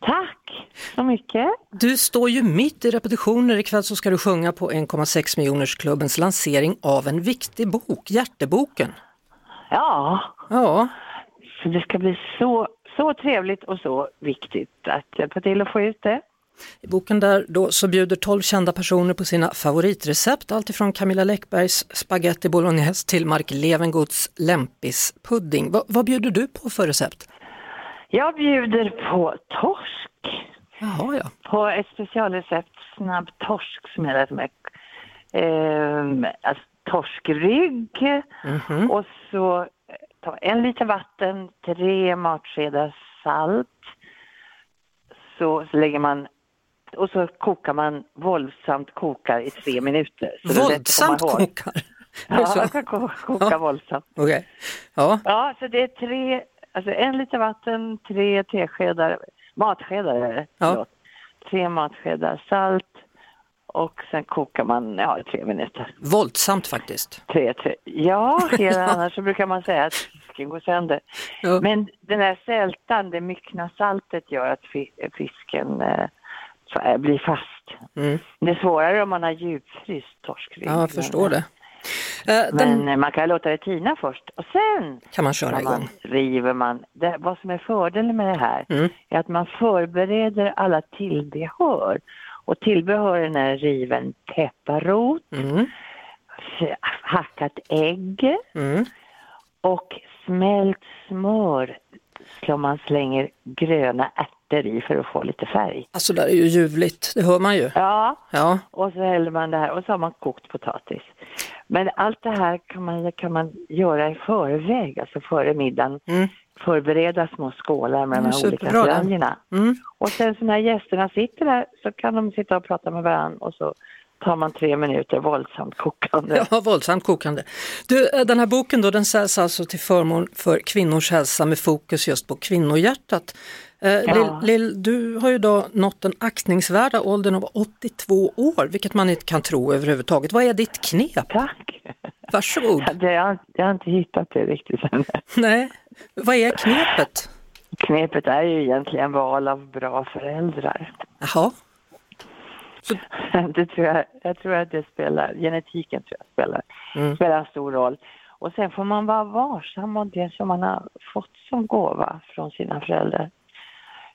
Tack så mycket. Du står ju mitt i repetitioner. Ikväll så ska du sjunga på 1,6 miljonersklubbens lansering av en viktig bok, Hjärteboken. Ja, Ja, så det ska bli så, så trevligt och så viktigt att hjälpa till att få ut det. i boken där då så bjuder 12 kända personer på sina favoritrecept. Alltifrån Camilla Läckbergs spaghetti bolognese till Mark Levengoods lempispudding. Va, vad bjuder du på för recept? Jag bjuder på torsk, Jaha, ja. på ett specialrecept snabb torsk som jag lärt mig. Ehm, alltså torskrygg Mhm. och så eh, ta en liter vatten, tre matskedar salt. Så, så lägger man och så kokar man våldsamt kokar i tre minuter. Så det är lätt att komma Våldsamt ihåg. kokar. Är det Ja, så? man kan ko- koka Ja. våldsamt. Okej. Ja, Ja, så det är tre, alltså en liter vatten, tre teskedar, matskedar är det, Ja. förlåt. Tre matskedar salt och sen kokar man, ja, i tre minuter. våldsamt faktiskt. Tre, tre. Ja, hela, annars så brukar man säga att fisken går sönder. Ja. Men den här sältan, det myckna saltet gör att fi- fisken eh, fa- blir fast. Det är svårare om man har djupfryst torskrygg. Mm. Ja, jag förstår det. Eh, Men Den eh, man kan låta det tina först och sen kan man köra när man igång. river man. Det, vad som är fördelen med det här är att man förbereder alla tillbehör. Och tillbehören är riven pepparrot, Mm. f- hackat ägg och smält smör som man slänger gröna ärtor i för att få lite färg. Alltså där är ju ljuvligt, det hör man ju. Ja, Ja, och så häller man det här och så har man kokt potatis. Men allt det här kan man, kan man göra i förväg, alltså före middagen. Förbereda små skålar med de Mm, här olika superbra Mm. det. flanjerna. Och sen så när gästerna sitter där så kan de sitta och prata med varandra och så tar man tre minuter våldsamt kokande. ja våldsamt kokande. Du, eh, den här boken då, den säljs alltså till förmån för kvinnors hälsa med fokus just på kvinnohjärtat. Eh, Ja. Lill, Lill, du har ju då nått den aktningsvärda åldern av 82 år, vilket man inte kan tro överhuvudtaget. Vad är ditt knep? Tack! Varsågod. Det, jag, har- jag har inte hittat det riktigt än. Nej, vad är knepet? Knepet är ju egentligen val av bra föräldrar. Jaha, Det tror jag, jag tror att det spelar, genetiken tror jag spelar, spelar en stor roll. Och sen får man vara varsam om det som man har fått som gåva från sina föräldrar.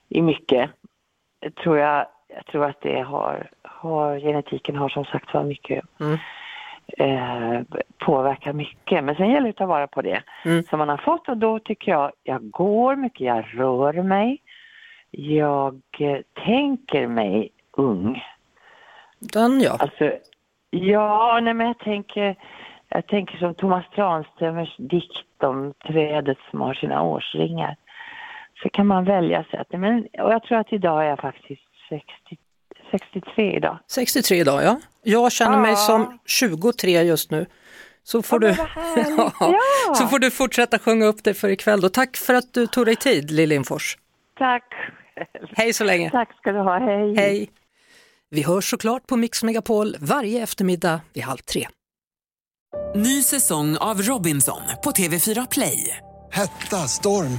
I mycket. Det Tror jag, jag tror att det har, har genetiken har som sagt var mycket eh, påverkar mycket. Men sen gäller det att ta vara på det som man har fått och då tycker jag, jag går mycket, jag rör mig. Jag eh, tänker mig ung. den ja. Alltså, ja, nej, men jag tänker, jag tänker som Thomas Tranströmers dikt om trädet som har sina årsringar. Så kan man välja sig att, nej, men, och jag tror att idag är jag faktiskt 60, 63 idag. 63 idag, ja. Jag känner mig Ja. som 23 just nu. Så får, du... men vad härligt. Ja. så får du fortsätta sjunga upp dig för ikväll. Då. Tack för att du tog dig tid, Lill Lindfors. Tack. Hej så länge. Tack ska du ha, hej. Hej. Vi hörs såklart på Mix Megapol varje eftermiddag vid halv tre. Ny säsong av Robinson på TV4 Play. Hetta, storm,